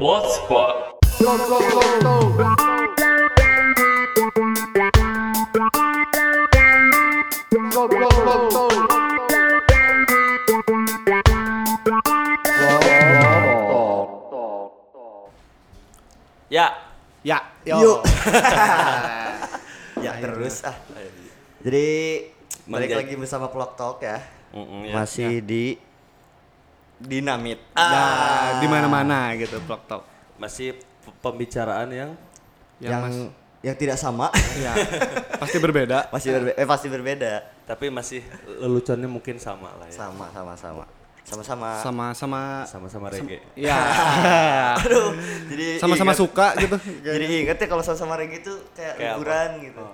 Hot spot. Ya, Ya, Yuk. ya terus ah. Jadi balik Menjadi- lagi bersama Vlog Talk ya. Mm-mm, ya. Ah. Masih di Ya, Dinamit. Nah, di mana-mana gitu vlog talk. masih p- pembicaraan yang Yang, Ya, yang mas- yang tidak sama ya, pasti berbeda. pasti berbe- eh, pasti berbeda. tapi masih leluconnya mungkin sama lah ya. Sama sama sama. Sama-sama. Sama-sama Sama-sama reggae. ya. Aduh. Jadi Sama-sama ingat- suka gitu. Jadi inget ya kalau sama-sama reggae itu Kayak apa? kayak, Oh, liburan gitu.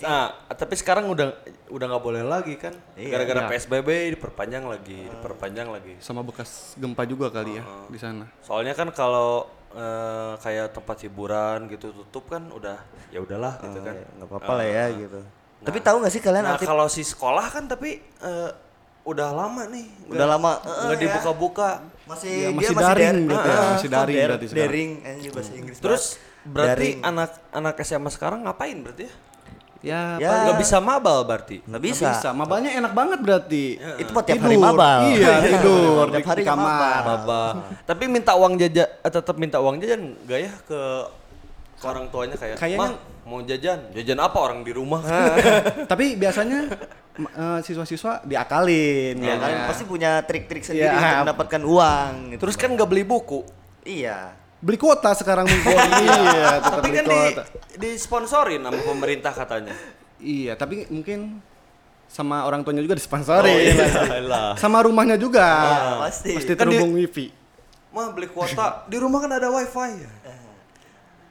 Nah, tapi sekarang udah udah nggak boleh lagi kan? Iya. Ah. Gara-gara Iya. PSBB diperpanjang lagi, diperpanjang lagi. Sama bekas gempa juga kali ya di sana. Soalnya kan kalau eh, kayak tempat hiburan gitu tutup kan udah ya udahlah gitu kan. Nggak apa-apa lah ya gitu. Tapi tahu nggak sih Oh, kalian Nah, arti kalau si sekolah kan tapi eh, udah lama nih. nggak- Udah lama, nggak eh, ya. dibuka-buka. masih, Ya, dia masih masih daring der- berarti ya, Heeh, masih daring der- berarti sekarang. Daring anjing bahasa Inggris. Terus banget. berarti Daring. anak anak SMA sekarang ngapain berarti ya? Ya, Nah. Ya, Nggak bisa mabal berarti. nggak bisa. bisa. bisa. Mabalnya enak banget berarti. Itu mah tiap hari mabal. Iya, tidur di, Tiap hari di kamar. mabal. Mabal. tapi minta uang jajan eh, tetap minta uang jajan nggak ya ke ke orang tuanya kayak Kayaknya- Nah. "Mah, mau jajan jajan apa orang di rumah Tapi biasanya ma- eh, siswa-siswa diakalin. Ya, kan? kalian pasti punya trik-trik sendiri Ya. untuk mendapatkan uang gitu. Iya. terus kan nggak beli buku iya. Beli kuota sekarang mungkin. iya, tukar tapi beli kan di kuota. disponsorin sama pemerintah katanya Iya, tapi mungkin sama orang tuanya juga disponsori. lah Sama rumahnya juga. Ah, pasti. Pasti Kan dia- terhubung wifi. mah beli kuota di rumah kan ada wifi ya Eh.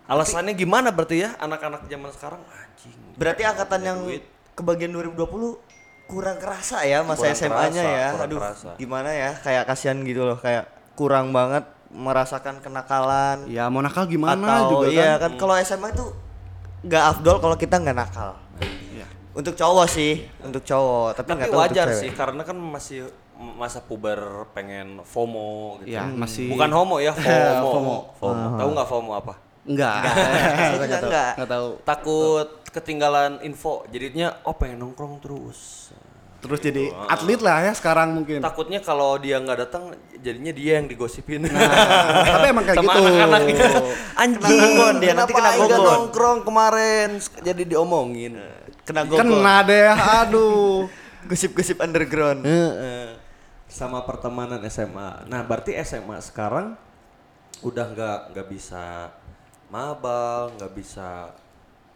alasannya gimana berarti ya anak-anak zaman sekarang anjing Berarti angkatan yang duit. kebagian 2020 kurang kerasa ya masa Kurang SMA-nya kerasa, ya. kurang Aduh, kerasa. gimana ya? Kayak kasihan gitu loh, kayak kurang banget merasakan kenakalan Ya mau nakal gimana atau juga iya kan. kan, kalau SMA itu nggak afdol kalau kita nggak nakal. Untuk cowok sih, untuk cowok, Iya. tapi tapi nggak tahu wajar untuk sih cewek. karena kan masih m- masa puber pengen FOMO gitu Ya, Iya, masih bukan homo ya FOMO FOMO. FOMO. Ah. tahu nggak FOMO apa enggak. Saya juga Enggak tahu. nggak. Enggak tahu. takut ketinggalan info jadinya oh pengen nongkrong terus Terus jadi atlet lah ya sekarang mungkin. takutnya kalau dia nggak datang jadinya dia yang digosipin Nah, Tapi emang kayak sama gitu. anak-anaknya anjing gogon dia, nanti kena kenapa nggak gogon. Eh, nongkrong kemarin jadi diomongin Nah, Kena gokok. Kena deh, aduh. Gosip-gosip underground. sama pertemanan SMA nah berarti SMA sekarang udah nggak nggak bisa mabal nggak bisa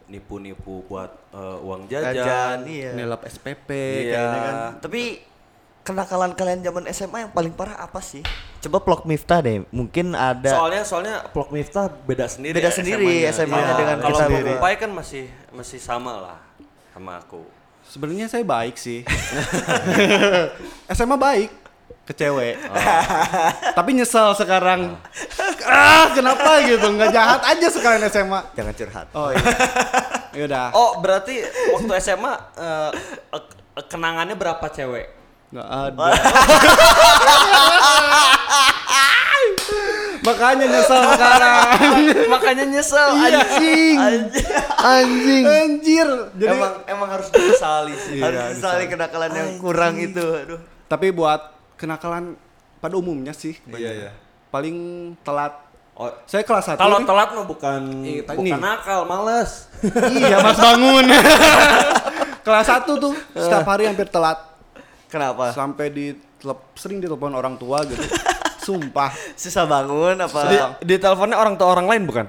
nipu-nipu buat eh, uang jajan, Jajan, iya. Nilap SPP Iya. kayaknya kan. Eh, Tapi kenakalan kalian zaman SMA yang paling parah apa sih? Coba vlog Miftah deh. Mungkin ada Soalnya soalnya Vlog Miftah beda sendiri. ya Beda sendiri SMA-nya dengan Iya. kalau kita Bang berdua. Upai kan masih masih sama lah sama aku. Sebenarnya saya baik sih. SMA baik ke cewek. Tapi nyesel sekarang. ah, kenapa gitu? Nggak jahat aja sekarang SMA. jangan curhat. Oh iya. Ah. Yaudah. Oh, berarti waktu SMA eh, eh, kenangannya berapa cewek? Nggak ada. Makanya nyesel sekarang. Makanya nyesel Iya. Anjing. Anjing. Anjir. Jadi emang emang harus disesali sih. Harus saling kenakalan yang kurang itu. Aduh. tapi buat kenakalan pada umumnya sih. Iya, iya. Paling telat. Oh, Saya kelas 1. kalau telat mah bukan Iya, tadi bukan nih. nakal, males. Iya mas bangun Kelas 1 tuh setiap hari hampir telat Kenapa? Sampai di sering ditelepon orang tua gitu Sumpah Susah bangun apa? Di, di teleponnya orang tua orang lain bukan?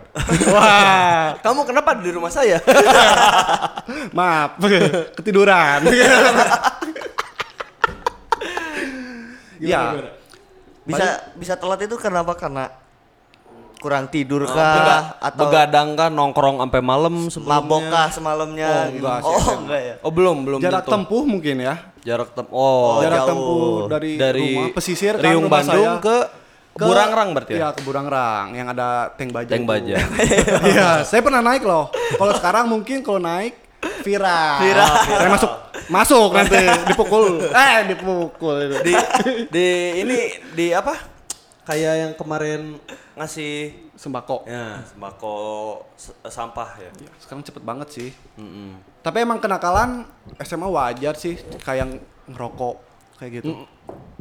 Wah Kamu kenapa di rumah saya? Maaf Ketiduran Ya Bisa bisa telat itu kenapa? Karena kurang tidur Enggak, kah atau begadang kan nongkrong sampai malam sebelumnya. mabok kah semalamnya? Oh, enggak gitu. sih, Oh, SMA. enggak ya. Oh, belum, belum jarak tentu. tempuh mungkin ya Jarak tem Oh, Oh, Jarak jauh. tempuh dari, dari rumah pesisir kan Riung rumah Bandung saya. ke, Burangrang berarti ya? Iya ke Burangrang yang ada tank baja Tank itu. baja. Iya saya pernah naik loh kalau sekarang mungkin kalau naik viral Viral. saya masuk masuk nanti dipukul eh dipukul itu Di di ini di apa? kayak yang kemarin ngasih sembako. ya sembako s- sampah ya. Sekarang cepet banget sih. Mm-mm. Tapi emang kenakalan SMA wajar sih kayak ngerokok kayak gitu.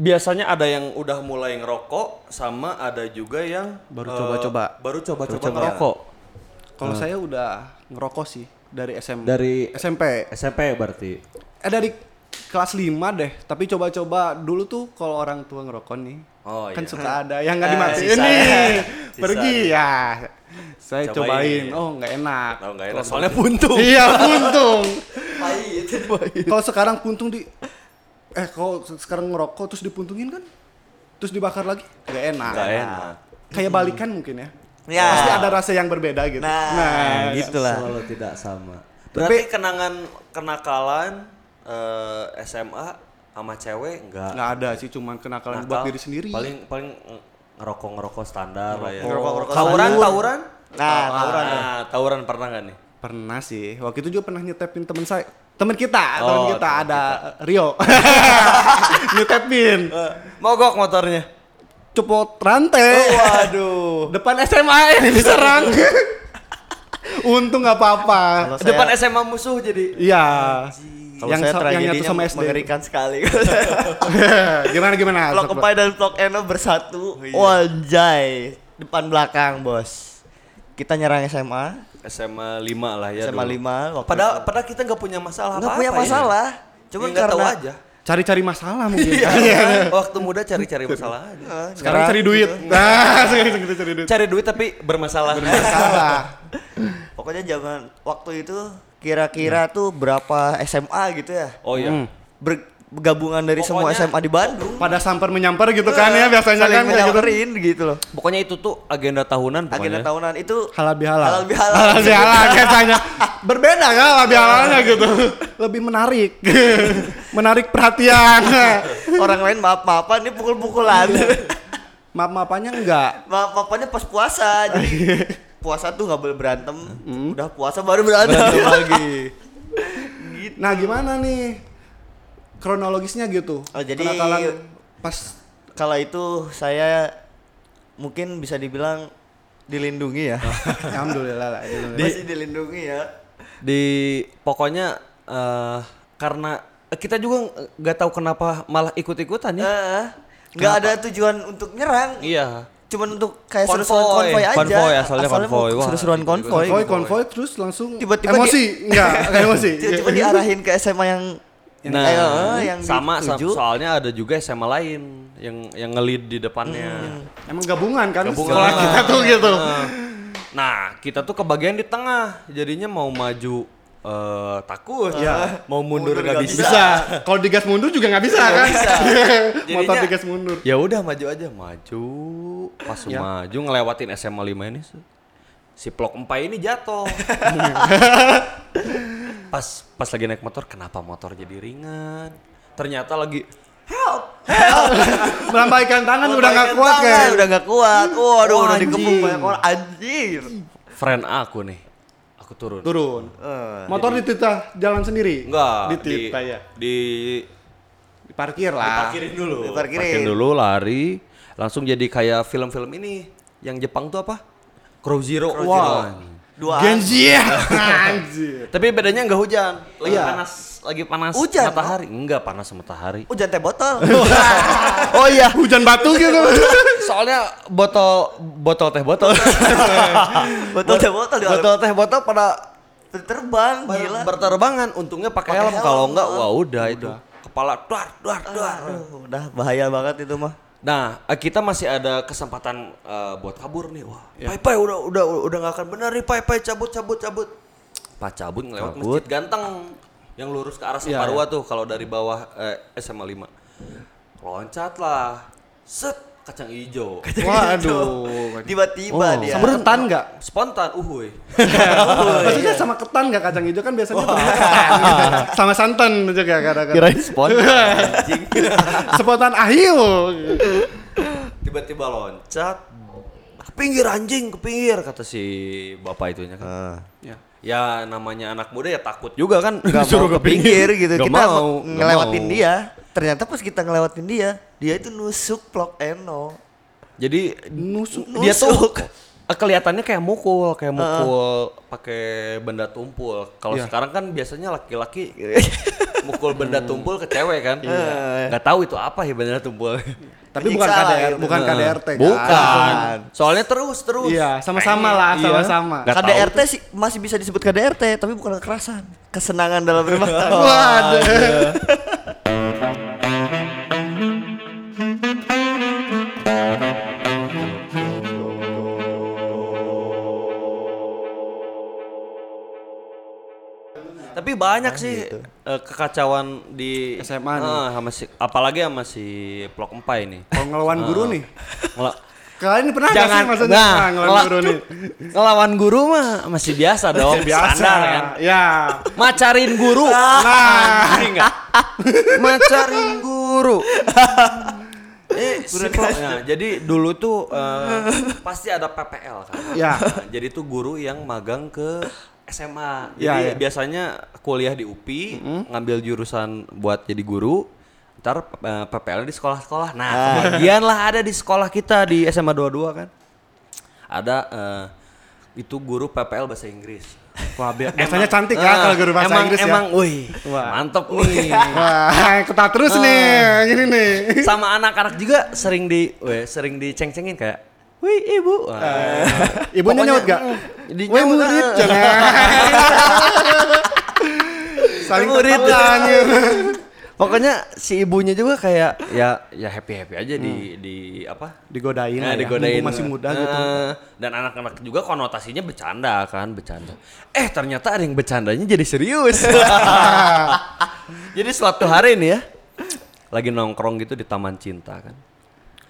Biasanya ada yang udah mulai ngerokok sama ada juga yang Baru eh, coba-coba. baru coba-coba Coba-coba. ngerokok. Kalau saya udah ngerokok sih dari SM Eh. Dari- SMP. SMP berarti. Eh dari kelas 5 deh, tapi coba-coba dulu tuh kalau orang tua ngerokok nih. Oh, iya. kan ya. suka ada yang nggak Ah, dimatiin sisa. nih. Sisa. Pergi ya. Saya Cobain. cobain. Oh, nggak enak. Tahu nggak enak. Soalnya buntu. Iya, puntung. Pahit. Kalau sekarang puntung di eh kalau se- sekarang ngerokok terus dipuntungin kan? Terus dibakar lagi? Gak enak. Nggak enak. Kayak balikan mungkin ya. Ya. Pasti ada rasa yang berbeda gitu. Nah, gitu lah. Selalu tidak sama. Berarti kenangan kenakalan eh, SMA sama cewek enggak. nggak ada sih cuman kenakalan buat diri sendiri. Paling paling ngerokok ngerokok standar lah ya. Ngerokok-ngerokok tawuran standar. tawuran. Nah, tawuran. Nah, tawuran pernah nggak nih? Pernah sih. Waktu itu juga pernah nyetepin temen saya. Temen kita, Oh, temen kita temen ada eh, Rio. nyetepin. Mogok motornya. Cepot rantai. Oh, Waduh. Depan SMA ini diserang. Untung nggak apa-apa. Kalau saya- Depan SMA musuh jadi. Iya. Kalau yang saya so- yang nyatu tragedinya sama SD. mengerikan sekali. gimana gimana? Blok Sok, Epai dan Blok Eno bersatu. Wanjay. Depan belakang, Bos. Kita nyerang SMA, SMA 5 lah ya. SMA dulu. 5 waktu Padahal padahal kita nggak punya masalah Nggak apa-apa. ya. punya masalah. Cuman Cuman ya, nggak tahu karena aja. Cari-cari masalah mungkin. Iya, Waktu muda cari-cari masalah aja. Eh, Sekarang nyerang cari duit. gitu. Nah, sekarang kita cari duit. Cari duit tapi bermasalah. Masalah. Pokoknya zaman waktu itu kira-kira tuh berapa SMA gitu ya? Oh iya. Bergabungan dari semua Pokoknya- SMA di Bandung. Pada samper menyamper gitu kan ya biasanya Saling kan kayak gitu. menyamperin gitu loh. Pokoknya itu tuh agenda tahunan Agenda pokoknya. tahunan itu Halal bihalal. Halal bihalal. Halal bihalal biasanya. Berbeda kan halal bihalalnya gitu. Lebih menarik. menarik perhatian. orang lain maaf-maafan, ini pukul-pukulan. Maaf-maafannya enggak. Maaf-maafannya pas puasa. Jadi puasa tuh nggak boleh berantem. Udah puasa baru berantem. lagi. Nah gimana nih kronologisnya gitu? Oh, jadi- Kenakalan pas Kalau itu saya mungkin bisa dibilang dilindungi ya. Ah. Alhamdulillah lah. alhamdulillah. Masih dilindungi ya. Di pokoknya eh karena kita juga nggak tahu kenapa malah ikut-ikutan ya. Heeh. Nggak ada tujuan untuk nyerang. Iya. Cuman untuk kayak Konvoy. seru-seruan konvoy aja. Konvoy, asalnya konvoy. mau Wah, Seru-seruan gitu-gitu. konvoy. konvoy, gitu. konvoy terus langsung Tiba-tiba emosi, enggak, enggak emosi. Tiba-tiba diarahin ke SMA yang Nah, eh, eh, Iya. yang sama, sa- dituju. soalnya ada juga SMA lain yang yang ngelid di depannya. Hmm. Emang gabungan kan Gabungan. sekolah kita tuh gitu. Nah, Nah, kita tuh kebagian di tengah. Jadinya mau maju eh, takut, Iya. mau Ya. mundur nggak Mundur nggak bisa. Bisa. Kalau digas mundur juga nggak bisa kan? Motor Jadinya- digas mundur. Ya udah maju aja, maju. Pas maju ngelewatin SMA 5 ini se- si Plok Empai ini jatuh. pas pas lagi naik motor, kenapa motor jadi ringan? Ternyata lagi Melambaikan tangan udah nggak Pegangan kuat tangan, kan? Udah nggak kuat. Waduh, Wah, udah dikepung anjing. banyak orang. Anjir. friend aku nih. Aku turun. Turun. Eh, Motor dititah jalan sendiri. Enggak, di, Dititah ya. di Diparkir lah. parkirin dulu. Diparkirin. Iya, Parkirin dulu lari, langsung jadi kayak film-film ini yang Jepang tuh apa? Crow Zero. Wah. dua. Genji ya. Anjir. Tapi bedanya nggak hujan, lagi Iya. panas, lagi panas Hujan, matahari. Enggak panas matahari. Hujan teh botol. oh iya. Hujan batu gitu. Soalnya botol botol teh botol. Botol teh botol di botol teh botol pada terbang gila. berterbangan. Untungnya pakai Pakai helm. helm. Kalau enggak wah udah itu. Kepala duar duar duar. Aduh, udah bahaya banget itu mah. Nah, eh, kita masih ada kesempatan eh, buat kabur nih. Wah, Pai Pai udah udah udah nggak akan benar nih Pai Pai cabut cabut cabut. Pak cabut ngelewat Cabut. masjid ganteng yang lurus ke arah Iya, Separua tuh kalau dari bawah eh, SMA 5. Loncatlah. Set kacang hijau. Waduh. Tiba-tiba Oh. dia. Sama ketan nggak? Spontan, uhuy. Maksudnya sama ketan nggak kacang hijau kan biasanya temennya ketan. sama santan juga kadang-kadang. Kirain spontan. Anjing. Sepotan ayu. Tiba-tiba loncat. Ke pinggir anjing, ke pinggir kata si bapak itunya kan. Ya. Ya namanya anak muda ya takut juga kan Gak mau ke pinggir gitu. Nggak kita mau, mau, nggak ngelewatin mau. dia. Ternyata pas kita ngelewatin dia, dia itu nusuk Blok Eno. Jadi Nusuk. dia tuh kelihatannya kayak mukul, kayak mukul pakai benda tumpul. Kalau Iya. sekarang kan biasanya laki-laki mukul benda Hmm. tumpul ke cewek kan. Iya. Nggak tahu itu apa ya benda tumpul. Tapi bukan Menyiksa lah KDR, gitu. Nah. bukan KDRT. kan? Bukan. Soalnya terus terus. Iya, sama-sama lah, Iya. sama-sama. Nggak tahu. KDRT sih masih bisa disebut KDRT tapi bukan kekerasan kesenangan dalam rumah tangga Waduh. Tapi banyak sih Gitu. eh, kekacauan di SMA nih. Ah, sama si- apalagi sama si Plok Empai nih. Kalau ngelawan guru Oh. nih. Ngela- Kalian pernah nggak Jangan sih maksudnya nah, nah, ngelawan ngela- guru nih? ngelawan guru mah masih biasa dong, standar kan. Ya. Macarin guru. Nah, Ngerti nggak? Macarin guru. Eh, si Plok- nah, jadi dulu tuh eh, pasti ada PPL kan. Ya. Nah, jadi tuh guru yang magang ke SMA. Jadi Ya, ya. biasanya kuliah di UPI, ngambil jurusan buat jadi guru. Ntar eh, PPL di sekolah-sekolah. Nah, Ah. kebagian lah ada di sekolah kita di SMA 22 kan. Ada eh, itu guru PPL bahasa Inggris. Ah, Wah, biar- biasanya cantik ya kalau guru bahasa emang, Inggris ya. Emang, wih, mantep nih. Wah, Nah, ketat terus nih, gini nih. Sama anak-anak juga sering di, weh, sering diceng-cengin kayak, wih ibu. Wah. Eh. Ibunya Pokoknya, nyaut gak? mm, di- Weh nyaut, murid, ah. jangan. Saling Murid. tertelan, gitu. Pokoknya si ibunya juga kayak ya ya happy happy aja di Hmm. di apa? Digodain Nah, lah ya, digodain. mumpung masih muda Eh, gitu. Dan anak-anak juga konotasinya bercanda kan, bercanda. Eh ternyata ada yang bercandanya jadi serius. jadi suatu hari nih ya, lagi nongkrong gitu di Taman Cinta kan.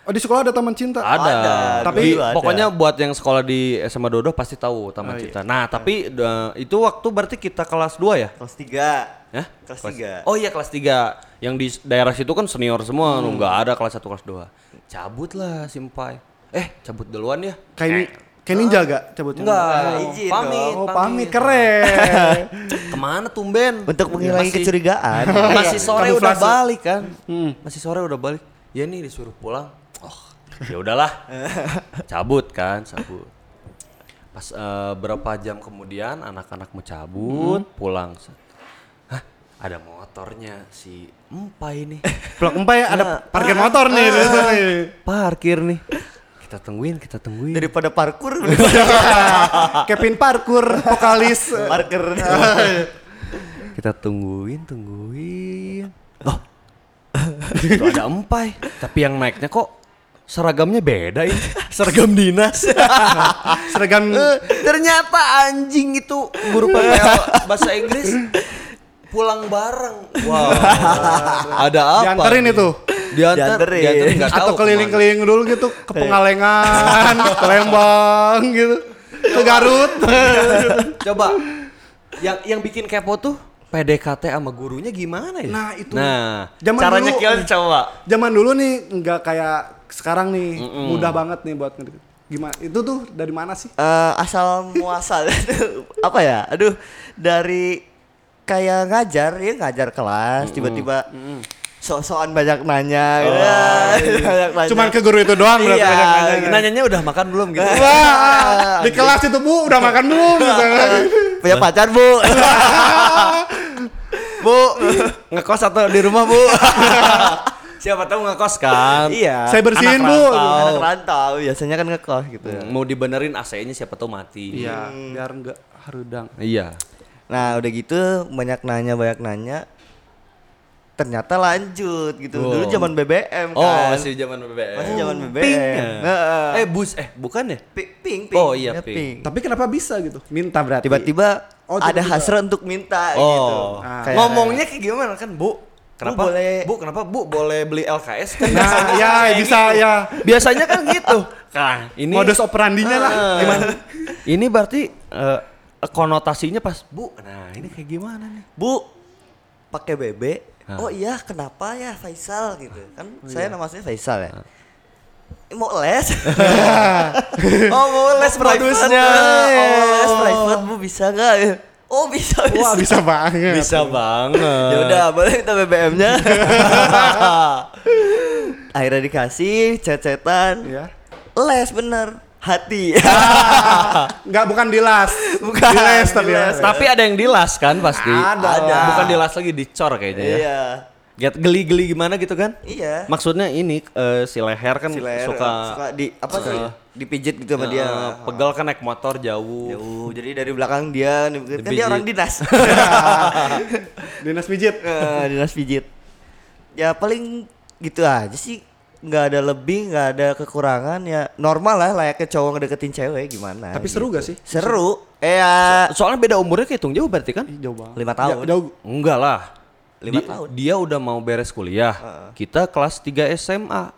Oh, di sekolah ada teman cinta? Ada. ada, Tapi Iya, dulu ada. pokoknya buat yang sekolah di SMA Dodo pasti tahu Oh, Taman Cinta. Nah, tapi eh, itu waktu berarti kita kelas 2 ya? kelas tiga Hah? kelas tiga Oh iya kelas 3. Yang di daerah situ kan senior semua, Hmm. lu nggak ada kelas 1 kelas 2. Cabut lah Simpai. Eh, cabut duluan ya. Kayak ni- kayak ninja gak cabutnya? Enggak, izin pamit, Oh, pamit keren. Kemana tumben? untuk menghilangi Masih- kecurigaan Masih sore Kamuflase. udah balik kan? Masih sore udah balik. Ya nih disuruh pulang. Oh, ya udahlah. cabut kan, cabut. Pas eh, berapa jam kemudian anak-anak mau cabut, Hmm. pulang. Hah, ada motornya si Empai nih. Blok empai ada Nah. parkir motor nih di sana nih. Parkir nih. Kita tungguin, kita tungguin. daripada parkur Kevin parkur, vokalis. parker kita tungguin tungguin loh itu ada empai Oh. tapi yang naiknya kok seragamnya beda ini seragam dinas Seragam Eh, ternyata anjing itu guru PPL bahasa Inggris pulang bareng wow ada apa Dianterin nih? itu? dianter Dianterin. dianterin nggak atau tahu keliling-keliling dulu gitu ke Pengalengan, ke Lembang gitu. Ke Garut. kemana. coba yang yang bikin kepo tuh PDKT sama gurunya gimana ya Nah, itu. nah Zaman caranya dulu- kalian coba Zaman dulu nih nggak kayak sekarang nih, mudah banget nih buat ngedeket. Gimana? Itu tuh dari mana sih? Eh, asal muasal apa ya aduh dari kayak ngajar ya ngajar kelas tiba-tiba sok-sokan banyak nanya Oh, gitu. iya, banyak nanya Cuman ke guru itu doang berarti Iya, banyak nanya. Nanya- gitu. nanyanya udah makan belum gitu Ya, Wah, di kelas itu bu udah makan belum? Misalnya. punya pacar bu bu ngekos atau di rumah bu siapa tahu ngekos kan iya Saya bersihin Anak bu. rantau. anak rantau biasanya kan ngekos gitu mau dibenerin AC-nya siapa tahu mati Iya, biar nggak harudang. iya Nah udah gitu banyak nanya banyak nanya ternyata lanjut gitu Wow. dulu zaman BBM kan oh masih zaman BBM Masih zaman BBM. Pink ya? Heeh. eh bus eh bukan ya Pi- ping ping Oh, iya, Ya, ping. Tapi kenapa bisa gitu? Minta berarti. tiba-tiba Oh, ada tiba-tiba. hasrat untuk minta gitu oh Ah. Kayak- ngomongnya kayak gimana kan bu kenapa bu, boleh- kenapa bu boleh beli LKS kan biasanya Nah, ya kayak bisa gitu. ya. biasanya kan gitu kan ini Modus operandinya lah. Eh, Gimana? ini berarti eh, konotasinya pas bu nah ini kayak gimana nih bu pakai BB Hah. oh iya kenapa ya Faisal gitu kan saya nama saya Faisal ya "Eh, mau les oh mau les modusnya. private. oh les Oh. private bu bisa nggak oh bisa bisa Wah bisa banget. bisa banget ya udah boleh minta BBM-nya akhirnya dikasih cecetan Ya. les bener hati Enggak bukan di las. Bukan, Di les tapi. di ya. les. Tapi ada yang dilas kan pasti. Ada lah. Bukan dilas lagi dicor kayaknya ya. iya Get geli-geli gimana gitu kan? iya Maksudnya ini eh, si leher kan Si leher, suka, ya. suka di apa sih dipijit gitu sama eh, dia pegal kan naik motor jauh. jauh jadi dari belakang dia kan dia Dipijit. orang dinas Dinas pijit. Eh, dinas pijit ya paling gitu aja sih nggak ada lebih nggak ada kekurangan ya normal lah layaknya cowok ngedeketin cewek gimana gitu. Tapi seru nggak sih? seru eh ya, Soalnya beda umurnya kehitung jauh berarti kan? Jauh banget. lima tahun Ja- Jauh. Enggak lah. Lima Di- tahun. Dia udah mau beres kuliah. Kita kelas 3 SMA.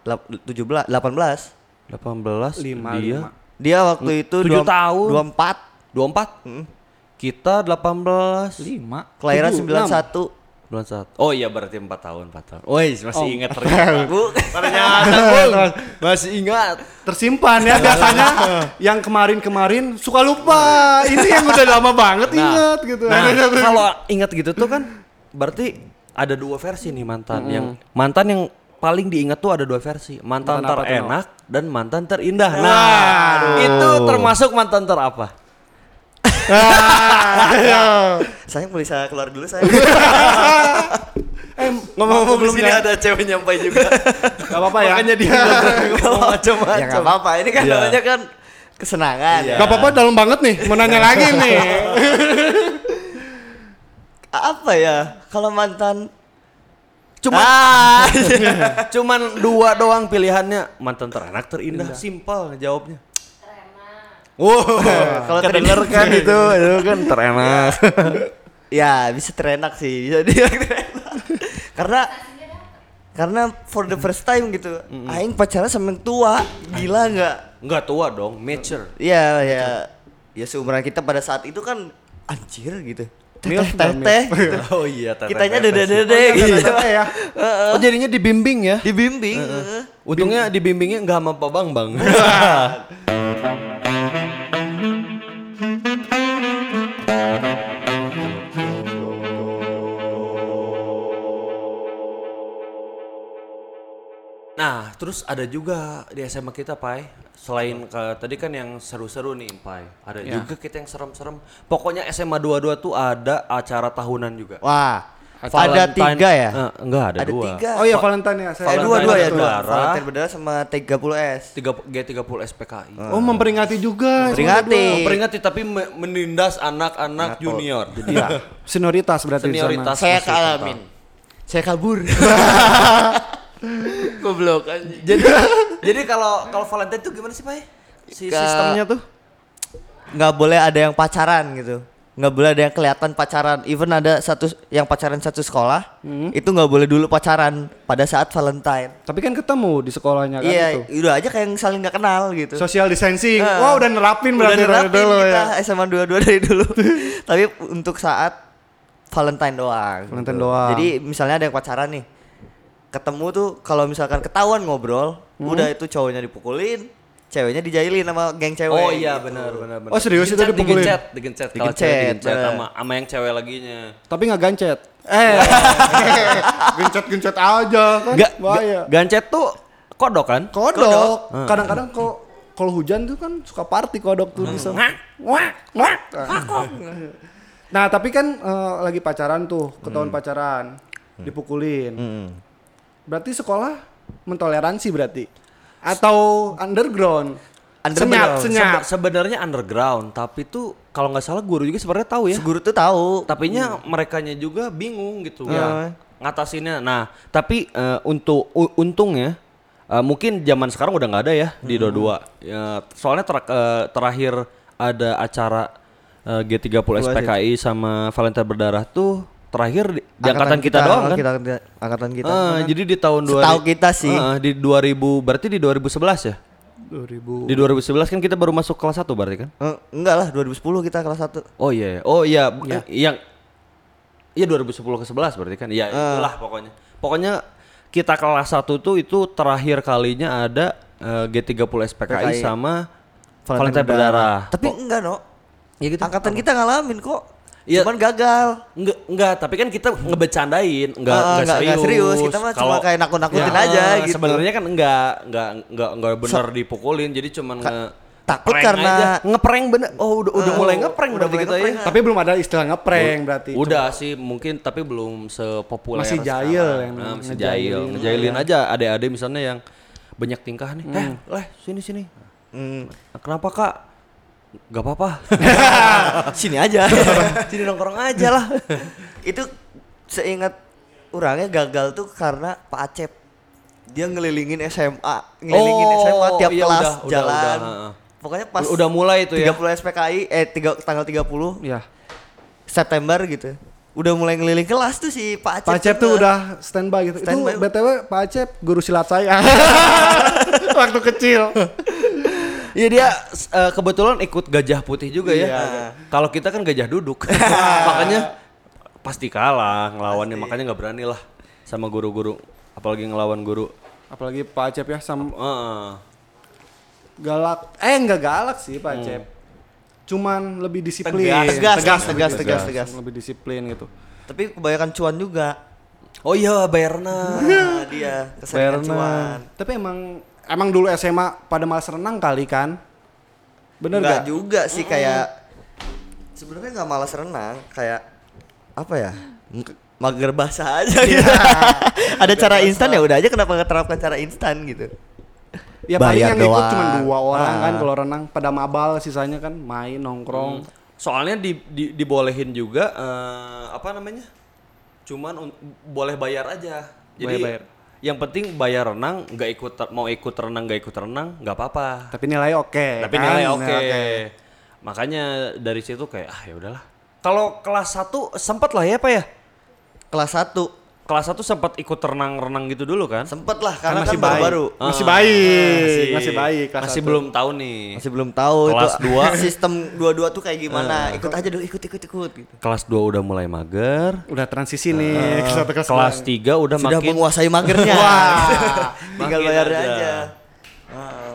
tujuh belas delapan belas 18 Lima, dia lima. dia waktu itu tujuh tahun. dua empat 24. Kita 18 Lima. kelahiran Tujuh, sembilan enam. satu bulan satu. Oh iya berarti 4 tahun, 4 tahun. Woi, masih ingat ternyata. bu Oh. ternyata Bung. masih ingat. Tersimpan ya biasanya yang kemarin-kemarin suka lupa. Nah. Ini yang udah lama banget inget gitu. Nah, kalau ingat gitu tuh kan berarti ada dua versi nih mantan yang mantan yang paling diingat tuh ada dua versi mantan, Mantan apa tuh, terenak dan mantan terindah. Nah, itu termasuk mantan terapa? nah, saya boleh saya keluar dulu saya eh, ngomong-ngomong belum ya. ada cewek nyampe juga Gak apa-apa ya. Makanya dia ya nggak apa-apa ini kan Iya. namanya kan kesenangan Iya. ya. Gak apa-apa dalam banget nih. Mau nanya lagi nih. apa ya kalau mantan Cuma ah cuman dua doang pilihannya mantan terenak terindah. Simpel jawabnya. Wow, Kalau kalau kedenger terindah. kan itu, itu kan terenak. Iya. ya bisa terenak sih bisa dia terenak karena karena for the first time gitu aing pacaran sama yang tua gila nggak Enggak tua dong, mature. ya ya ya seumuran kita pada saat itu kan anjir gitu Milf teteh dah, teteh gitu. Oh iya, teteh, kitanya iya, teteh. dede dede gitu Teteh ya. Oh jadinya dibimbing ya? dibimbing Untungnya dibimbingnya nggak sama Pak Bang Bang. nah, terus ada juga di SMA kita, Pai. Selain ke, tadi kan yang seru-seru nih, Pai. Ada Ya. juga kita yang serem-serem. Pokoknya SMA 22 tuh ada acara tahunan juga. wah ada Valentine- tiga ya Eh, enggak, ada, ada dua. tiga Oh iya Valentine ya. eh Saya dua dua ya dua Berdarah. Valentine berdarah sama 30 s 30 G30 SPKI. Oh memperingati juga. Peringati. memperingati tapi me- menindas anak-anak junior. Iya. Senioritas berarti di sana. Senioritas saya masih kealamin tetap. saya kabur goblok anjing Jadi jadi kalau kalau Valentine tuh gimana sih, Pak? Si Ke- sistemnya tuh? nggak boleh ada yang pacaran gitu nggak boleh ada yang kelihatan pacaran even ada satu yang pacaran satu sekolah itu nggak boleh dulu pacaran pada saat Valentine Tapi kan ketemu di sekolahnya kan iya itu. udah aja kayak yang saling nggak kenal gitu Social distancing. Eh. Wah udah nerapin udah berarti dari nerapin dulu kita ya. SMA dua-dua dari dulu tapi untuk saat Valentine doang Gitu. Valentine doang. jadi misalnya ada yang pacaran nih ketemu tuh kalau misalkan ketahuan ngobrol udah itu cowoknya dipukulin ceweknya dijailin sama geng cewek Oh iya gitu. benar benar benar. Oh, serius itu Digencet, dipukulin? Digencet, digencet, kalau cewek Digencet, digencet bener. sama sama yang cewek laginya. Tapi nggak gancet. Eh. Gencet-gencet aja kan. Enggak, bahaya. gancet tuh kodok kan? Kodok. Kadang-kadang kalau kalau hujan tuh kan suka party kodok tuh bisa. Wah, wah, Nah, tapi kan eh, lagi pacaran tuh, Hmm. ketahuan pacaran, dipukulin. Berarti sekolah mentoleransi berarti atau underground? Senyap, Underground. senyap. Sebe- Sebenarnya underground, tapi tuh kalau nggak salah guru juga sebenarnya tahu ya. guru tuh tahu tapi nya merekanya juga bingung gitu Ya. ngatasinnya nah tapi eh, untuk u- untungnya eh, mungkin zaman sekarang udah nggak ada ya Hmm. di Dua dua Ya, soalnya ter- eh, terakhir ada acara eh, G30 SPKI sama Valentine Berdarah tuh terakhir di, di angkatan, kita, doang kan Kita, kita- angkatan kita. Eh, jadi di tahun 2000 Setahu kita sih. Eh, di 2000 berarti di 2011 ya 2000. di Uh. 2011 kan kita baru masuk kelas 1 berarti kan Eh, enggak lah 2010 kita kelas 1. Oh iya, oh iya, eh, yang Iya 2010 ke 11 berarti kan. Iya, Ah. itulah pokoknya. Pokoknya kita kelas 1 tuh itu terakhir kalinya ada eh, G30 SPKI PKI. sama Valentine Berdarah. Tapi enggak, No. Ah, Ya gitu. Angkatan kita ngalamin kok. Iya. Cuman gagal. Enggak, enggak, tapi kan kita ngebecandain, enggak, Ah, enggak, enggak- enggak serius. serius. Kita mah cuma Kalau- Ya. kayak nakut-nakutin aja gitu. Sebenarnya kan enggak, enggak, enggak, enggak bener dipukulin, jadi cuman nge takut prank karena- aja. ngeprank bener. Oh, udah, udah Eh, mulai ngeprank udah berarti mulai kita ya. ngeprank. Tapi belum ada istilah ngeprank berarti. Udah sih mungkin tapi belum sepopuler Masih sekarang. jahil yang Nah, masih ngejailin. jahil. Ngejailin aja adik-adik misalnya yang banyak tingkah nih. Hmm. Eh, leh sini sini. Nah, Kenapa Kak? Gak apa-apa. Sini aja. Ah, sini nongkrong aja lah. itu seingat orangnya gagal tuh karena Pak Acep. Dia ngelilingin SMA, ngelilingin Oh, SMA tiap iya, kelas udah, udah, jalan. udah, heeh. Pokoknya pas Udah mulai itu ya. Iya. 30 SPKI eh tiga, tanggal 30 Ya. September gitu. Udah mulai ngeliling kelas tuh si Pak Acep. Pak Acep tuh udah standby gitu. Standby. Itu BTW Pak Acep guru silat saya. Waktu kecil. Iya dia s- eh, kebetulan ikut gajah putih juga Iya, ya. Kalau kita kan gajah duduk. makanya pasti kalah ngelawannya makanya nggak berani lah sama guru-guru apalagi ngelawan guru. Apalagi Pak Acep ya sam Heeh. galak. Eh enggak galak sih Pak Acep. Cuman lebih disiplin. Tegas, tegas, tegas, tegas, tegas. Lebih disiplin gitu. Tapi kebanyakan cuan juga. Oh iya Bayarna. Nah, dia Karena- keseringan cuan. Tapi emang emang dulu SMA pada malas renang kali kan? Bener Nggak gak? juga sih kayak sebenarnya nggak malas renang kayak apa ya M- mager basah aja gitu. Iya. ada cara instan ya udah aja kenapa nggak terapkan cara instan gitu Ya paling Bayar yang ikut doang. cuma dua orang kan Ah. Hmm. kalau renang pada mabal sisanya kan main nongkrong. Soalnya di, di- dibolehin juga eh, apa namanya? Cuman un- boleh bayar aja. Jadi Boleh bayar. yang penting bayar renang, nggak ikut mau ikut renang nggak ikut renang nggak apa-apa. Tapi nilai oke. Tapi kan? nilai oke. Makanya dari situ kayak ah ya udahlah. Kalau kelas 1 sempat lah ya Pak ya? kelas 1 Kelas 1 sempat ikut renang-renang gitu dulu kan? Ah, sempet lah karena masih kan baru-baru baik. Masih baik, masih baik kelas masih satu. belum tahu nih. masih belum tahu Kelas itu dua. sistem dua-dua tuh kayak Ah. gimana ikut aja dulu ikut ikut ikut gitu. Kelas 2 udah mulai mager. Udah transisi nih ke satu kelas. Ah, Kelas 3 udah sudah makin menguasai magernya tinggal Makin bayar aja, aja. Ah.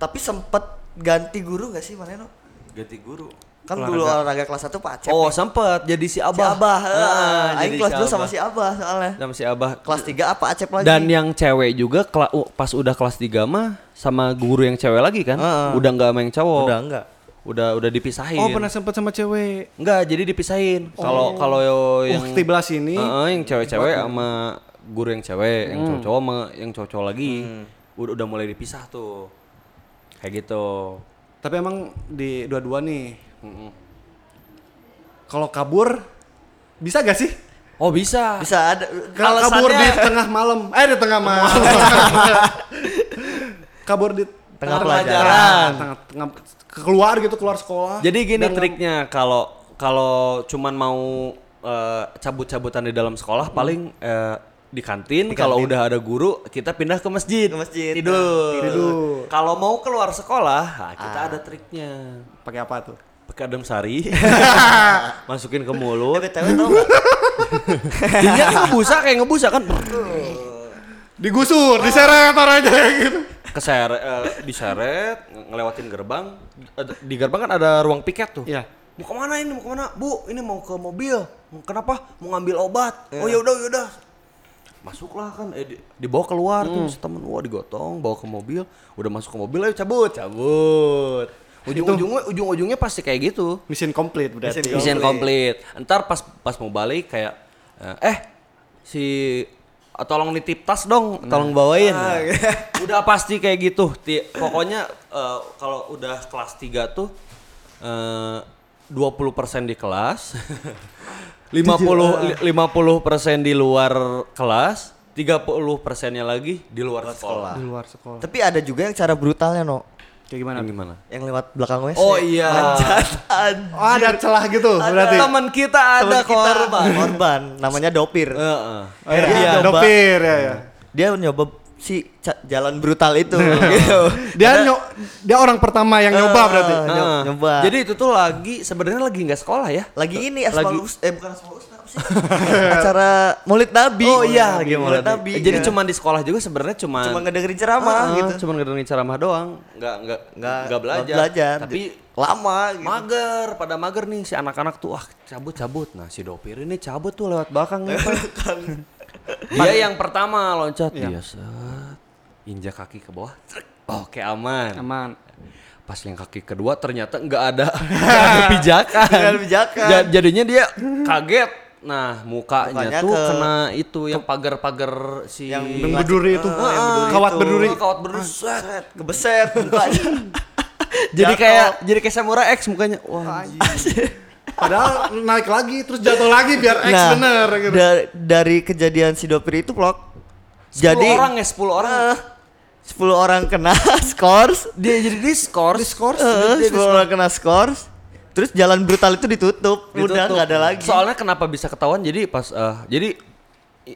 tapi sempet ganti guru nggak sih Maneno ganti guru kan dulu olahraga kelas 1 Pak Acep Oh, sempat jadi si Si Abah. Abah. Ah, Aing jadi kelas si 2 Abah. sama si Abah soalnya. sama si Abah. Kelas 3 apa Acep lagi? Dan yang cewek juga kela- u- pas udah kelas 3 mah sama guru yang cewek lagi kan? Heeh. Udah nggak sama yang cowok. udah enggak. Udah udah dipisahin. Oh pernah sempet sama cewek. Enggak, jadi dipisahin. Kalau Oh. kalau yang Yang belas ini Heeh, yang cewek-cewek sama guru yang cewek, Hmm. yang cowok-cowok sama yang cowok-cowok lagi. Udah, udah mulai dipisah tuh. Kayak gitu. Tapi emang di dua-dua nih. Kalau kabur bisa gak sih? Oh, bisa. Bisa ada Kalau alasannya- kabur di tengah malam, eh di tengah malam. kabur di Tengah pelajaran. tengah, tengah, keluar gitu keluar sekolah. Jadi gini triknya kalau kalau cuman mau eh, cabut-cabutan di dalam sekolah paling eh, di kantin, kalau udah ada guru kita pindah ke masjid. Ke masjid. Tidur. Tidur. Kalau mau keluar sekolah, nah, kita ada triknya. pakai apa tuh? Pakai adem sari. Masukin ke Eh, mulut. BTW tau nggak? Dia ngebusa kayak ngebusa kan. Digusur, diseret orang aja gitu. Keseret eh, diseret nge- ngelewatin gerbang. Ada- Di gerbang kan ada ruang piket tuh. Iya. mau kemana ini mau kemana bu ini mau ke mobil kenapa mau ngambil obat oh ya udah ya udah masuklah kan eh, di- dibawa keluar tuh si temen wah digotong bawa ke mobil udah masuk ke mobil ayo cabut cabut ujung ujungnya ujung ujungnya pasti kayak gitu Mission complete berarti. Mission mission komplit ntar pas pas mau balik kayak eh si ah, tolong nitip tas dong tolong bawain Nah, iya. udah pasti kayak gitu Ti- pokoknya eh, kalau udah kelas 3 tuh eh 20% di kelas 50 li- 50% di luar kelas 30%-nya lagi di luar sekolah. Di luar sekolah. Tapi ada juga yang cara brutalnya, No. Kayak gimana? Gimana? Yang lewat belakang WC. Oh iya. Manjat, anjir. Oh, ada celah gitu berarti. Teman kita ada Temen kita, korban. Eh, korban namanya Dopir. Heeh. Oh, iya, Dia iya, nyoba- dopir ya ya. Dia nyoba si ca- jalan brutal itu gitu. Dia nyo- dia orang pertama yang nyoba berarti. Kan Eh, nyo- nyoba. Jadi itu tuh lagi sebenarnya lagi nggak sekolah ya? lagi ini aspal Us- eh bukan aspal Usna, apa sih? acara Maulid Nabi. Oh iya, Ah. lagi lagi Maulid mulai. Nabi. Jadi Iya. cuma di sekolah juga sebenarnya cuma cuma ngedengerin ceramah gitu. Cuma ngedengerin ceramah doang, nggak nggak nggak nggak belajar. Tapi lama gitu. mager, pada mager nih si anak-anak tuh wah cabut-cabut. Nah, si Dopir ini cabut tuh lewat belakang Iya. nih. Pak. Dia yang pertama loncat dia set, injak kaki ke bawah. trek. Oke, aman. Aman. Pas yang kaki kedua ternyata nggak ada, nggak ada pijakan. Nggak ada pijakan. Ja- jadinya dia kaget. Nah, mukanya, Mukanya tuh ke- kena itu yang pagar-pagar si Yang Yang berduri itu. Eh, Ah, yang berduri Kawat itu. berduri. Oh, kawat berduri. Set. Set, kebeset mukanya. Jadi Jatuh. kayak jadi kayak samurai X mukanya. Wah. Padahal naik lagi terus jatuh lagi biar X Nah, bener gitu. da- dari kejadian si Dopir itu vlog. Jadi orang ya, 10 orang. Eh, 10 orang kena skors. Dia jadi diskors. Skors? 10 orang kena skors. Terus jalan brutal itu ditutup. Udah Ditutup. nggak ada lagi. Soalnya kenapa bisa ketahuan? Jadi pas eh, jadi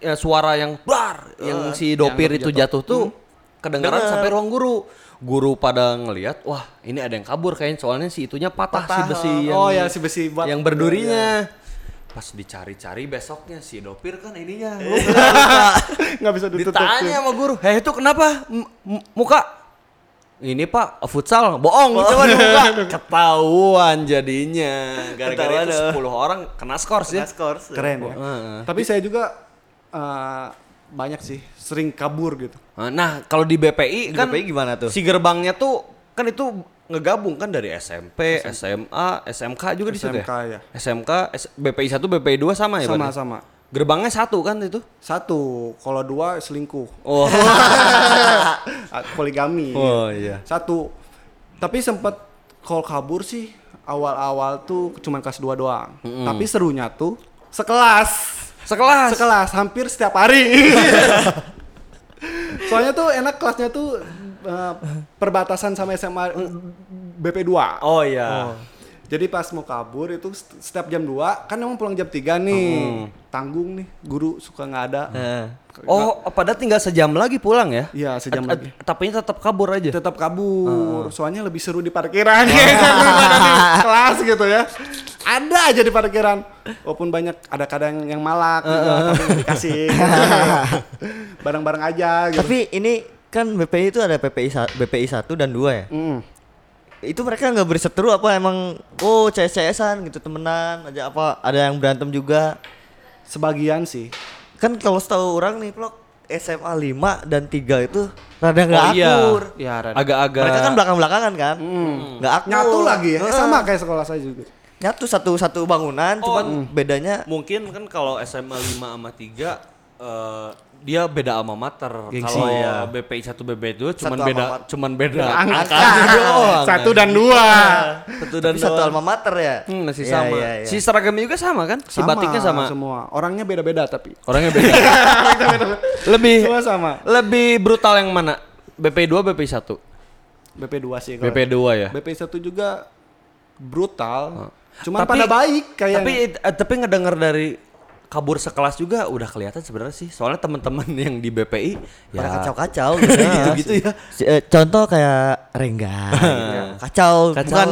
eh, suara yang blar Eh, yang Hmm. si dopir itu jatuh, tuh kedengaran Dengar. sampai ruang guru. Guru pada ngelihat, wah ini ada yang kabur kayaknya soalnya si itunya patah, iya, si Patah, iya, besi yang Oh, ya, si besi buat- yang Iya. berdurinya. Pas dicari-cari besoknya si dopir kan ininya. Nggak bisa ditutup. Ditanya sama guru, "Heh, itu kenapa M- m- muka?" Ini Pak futsal, bohong, coba dibuka. Ketahuan jadinya. Gara-gara Ketahuan, itu 10 eh. orang kena skors ya. Kena skors. Keren ya. Tapi saya juga eh, banyak sih sering kabur gitu. Nah, kalau di BPI Di kan BPI gimana tuh? Si gerbangnya tuh kan itu ngegabung kan dari SMP, SMA, SMK juga di situ ya? SMK, ya. SMK, S- BPI 1, BPI 2 sama ya? Bang? Sama-sama. Gerbangnya satu kan itu? Satu, kalau dua selingkuh. Oh. Ah, poligami. Oh, iya. Satu. Tapi sempet kalau kabur sih awal-awal tuh cuman kelas dua doang. Tapi serunya tuh sekelas. Sekelas. Sekelas hampir setiap hari. Soalnya tuh enak kelasnya tuh eh, perbatasan sama SMA BP2. Oh iya. Jadi pas mau kabur itu st- setiap jam 2 kan emang pulang jam 3 nih. Tanggung nih, guru suka nggak ada. Oh, padahal tinggal sejam lagi pulang ya? Iya, sejam Ad- ad- lagi. Tapi tetap kabur aja. tetap kabur. Soalnya lebih seru di parkiran gitu, daripada di kelas gitu ya. Ada aja di parkiran. Walaupun banyak ada kadang yang malak juga, tapi dikasih. gitu ya. Bareng-bareng aja gitu. Tapi ini kan BPI itu ada PPI sa- BPI 1 dan 2 ya. Mm. Itu mereka nggak berseteru apa emang oh CS-CSan gitu temenan aja apa ada yang berantem juga. Sebagian sih. Kan kalau setahu orang nih vlog SMA 5 dan 3 itu rada nggak Oh, iya. akur. Ya, Rad. Agak-agak. Mereka kan belakang-belakangan kan? Nggak akur. Oh. Hmm. Nyatu lagi ya. Eh, Heeh. sama kayak sekolah saya juga. Nyatu satu-satu bangunan cuman Oh. bedanya mungkin kan kalau SMA 5 sama 3 eh, dia beda alma mater. Gengsi. Kalau Oh, iya. BPI 1 BPI 2 cuman Satu alma beda mater. cuman beda Angka. doang. Satu dan dua. Satu dan tapi satu doang. alma mater ya. Hmm, masih Iya, sama. iya, iya. Si seragamnya juga sama kan? Si batiknya sama. Semua. Orangnya beda-beda tapi. Orangnya beda. lebih Semua sama. lebih brutal yang mana? BPI 2 BPI 1. BP2 sih. kalau- BPI 2 ya. BP1 juga brutal. Cuman Tapi- pada baik kayaknya. Tapi eh, tapi ngedengar dari kabur sekelas juga udah kelihatan sebenarnya sih. Soalnya teman-teman yang di BPI ya Pada kacau-kacau gitu, Gitu-gitu ya. Iya. Si- eh, Contoh kayak Rengga gitu. Kacau, Kacau. bukan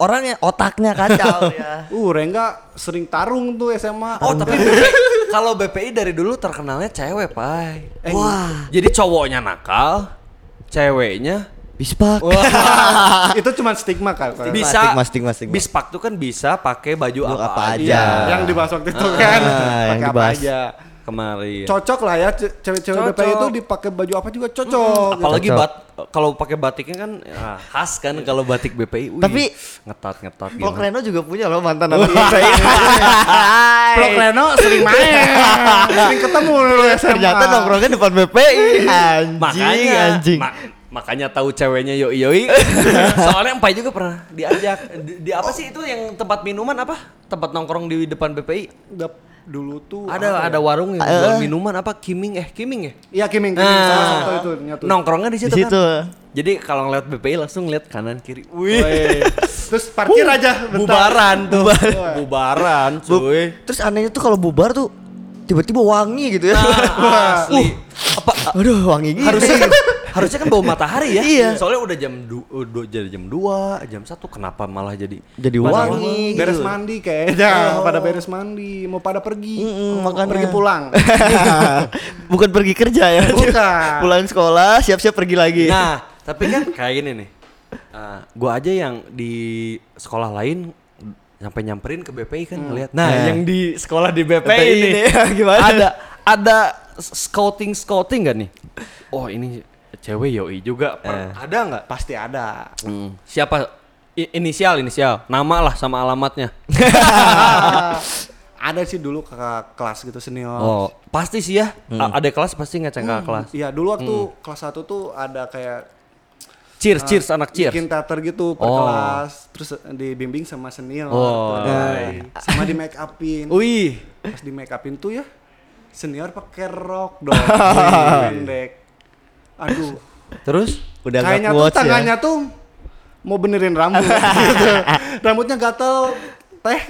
orangnya otaknya kacau ya. Uh, Rengga sering tarung tuh SMA. Oh tapi BPI kalau BPI dari dulu terkenalnya cewek pai. Eh, Wah, Jadi cowoknya nakal, ceweknya bispak. itu cuman stigma kan. Pak. Bi- bisa stigma, stigma, stigma. bispak tuh kan bisa pakai baju apa, Baju apa aja. Iya, aja. yang dibahas waktu itu kan. Ah, yang Pakai apa dibahas. aja. kemarin. Cocok lah ya ce- cewek-cewek Cocok. BPI itu dipakai baju apa juga cocok. Apalagi Cocok. bat kalau pakai batiknya kan ya, khas kan kalau batik BPI. Wih, Tapi- ngetat ngetat Vlog gitu. Reno juga punya loh mantan anak Hai. Blok Reno sering main. Nah, sering ketemu dulu SMA. Ternyata nongkrongnya depan BPI. Anjing, Makanya anjing. ma- makanya tahu ceweknya yoi yoi. Soalnya empai juga pernah diajak di, di apa sih itu yang tempat minuman apa? Tempat nongkrong di depan BPI. Dap- dulu tuh ya? Ada ya? ada warung Eh, yang jual minuman apa Kiming eh Kiming ya? Iya Kiming, Kiming Ah. Nah, salah satu itu nyatu. nongkrongnya di Di situ, situ. kan. Jadi kalau ngeliat BPI langsung lihat kanan kiri. Wih, Weh. Terus Oh, iya. parkir aja bentar. Oh, iya. bubaran tuh. bubaran, cuy. Terus anehnya tuh kalau bubar tuh tiba-tiba wangi gitu ya. Ah, uh, Asli. Apa Aduh, wangi gitu. gini. harusnya harusnya kan bau matahari ya. Iya. Soalnya udah jam du, udah jadi jam 2, jam 1 kenapa malah jadi jadi malah- wangi. beres gitu. Oh. mandi kayaknya pada beres mandi mau pada pergi Mm-mm, mau makanya. pergi pulang Bukan pergi kerja ya. Bukan. Pulang sekolah, siap-siap pergi lagi. Nah, tapi kan kayak gini nih. Eh, gua aja yang di sekolah lain nyampe nyamperin ke BPI kan ngeliat. Nah, Nah. yang di sekolah di BPI, BPI ini ini, gimana? Ada ada scouting scouting gak nih? Eh. Oh ini cewek yoi juga. Per- Ada nggak? pasti ada Hmm, Siapa? I- inisial inisial. Nama lah sama alamatnya. ada sih dulu kakak kelas gitu senior Oh, Hmm. pasti sih ya. A- Ada kelas pasti ngeceng ke kelas. Iya dulu waktu Hmm. kelas 1 tuh ada kayak eh, Cheers, cheers anak cheers. bikin teater gitu per Oh. kelas terus dibimbing sama senior Oh, tuh. iya. sama di make upin Wih, pas di make upin tuh ya senior pakai rok dong pendek aduh terus Udah nggak kayaknya tuh quotes ya. tangannya tuh mau benerin rambut gitu. rambutnya gatel teh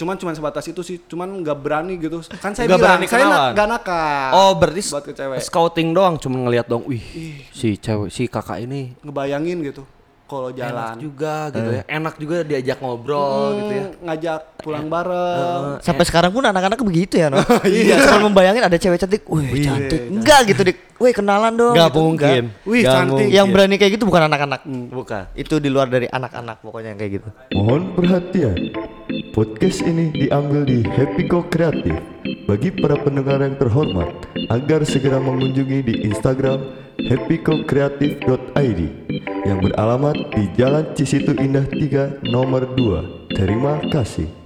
cuman cuman sebatas itu sih cuman nggak berani gitu kan saya Nggak bilang berani saya na- kenalan. nggak nakal Oh berarti Ah, buat ke cewek scouting doang cuma ngelihat dong. Wih, si cewek si kakak ini ngebayangin gitu kalau enak jalan Eh. juga gitu ya. Enak juga diajak ngobrol gitu ya. Eh. Hmm, ngajak pulang bareng Sampai sekarang pun anak-anak begitu ya, no? Oh, iya. Cuma membayangin ada cewek cantik, wih cantik. Enggak gitu, Dik. Wih, kenalan dong. Nggak gitu. mungkin. Nggak. iya. Wih, cantik. Nggak Hmm. mungkin. Yang berani kayak gitu bukan anak-anak. Bukan. Itu di luar dari anak-anak pokoknya yang kayak gitu. Mohon perhatian, podcast ini diambil di Happy Go Kreatif bagi para pendengar yang terhormat agar segera mengunjungi di Instagram happycokreatif.id yang beralamat di Jalan Cisitu Indah 3 nomor 2. Terima kasih.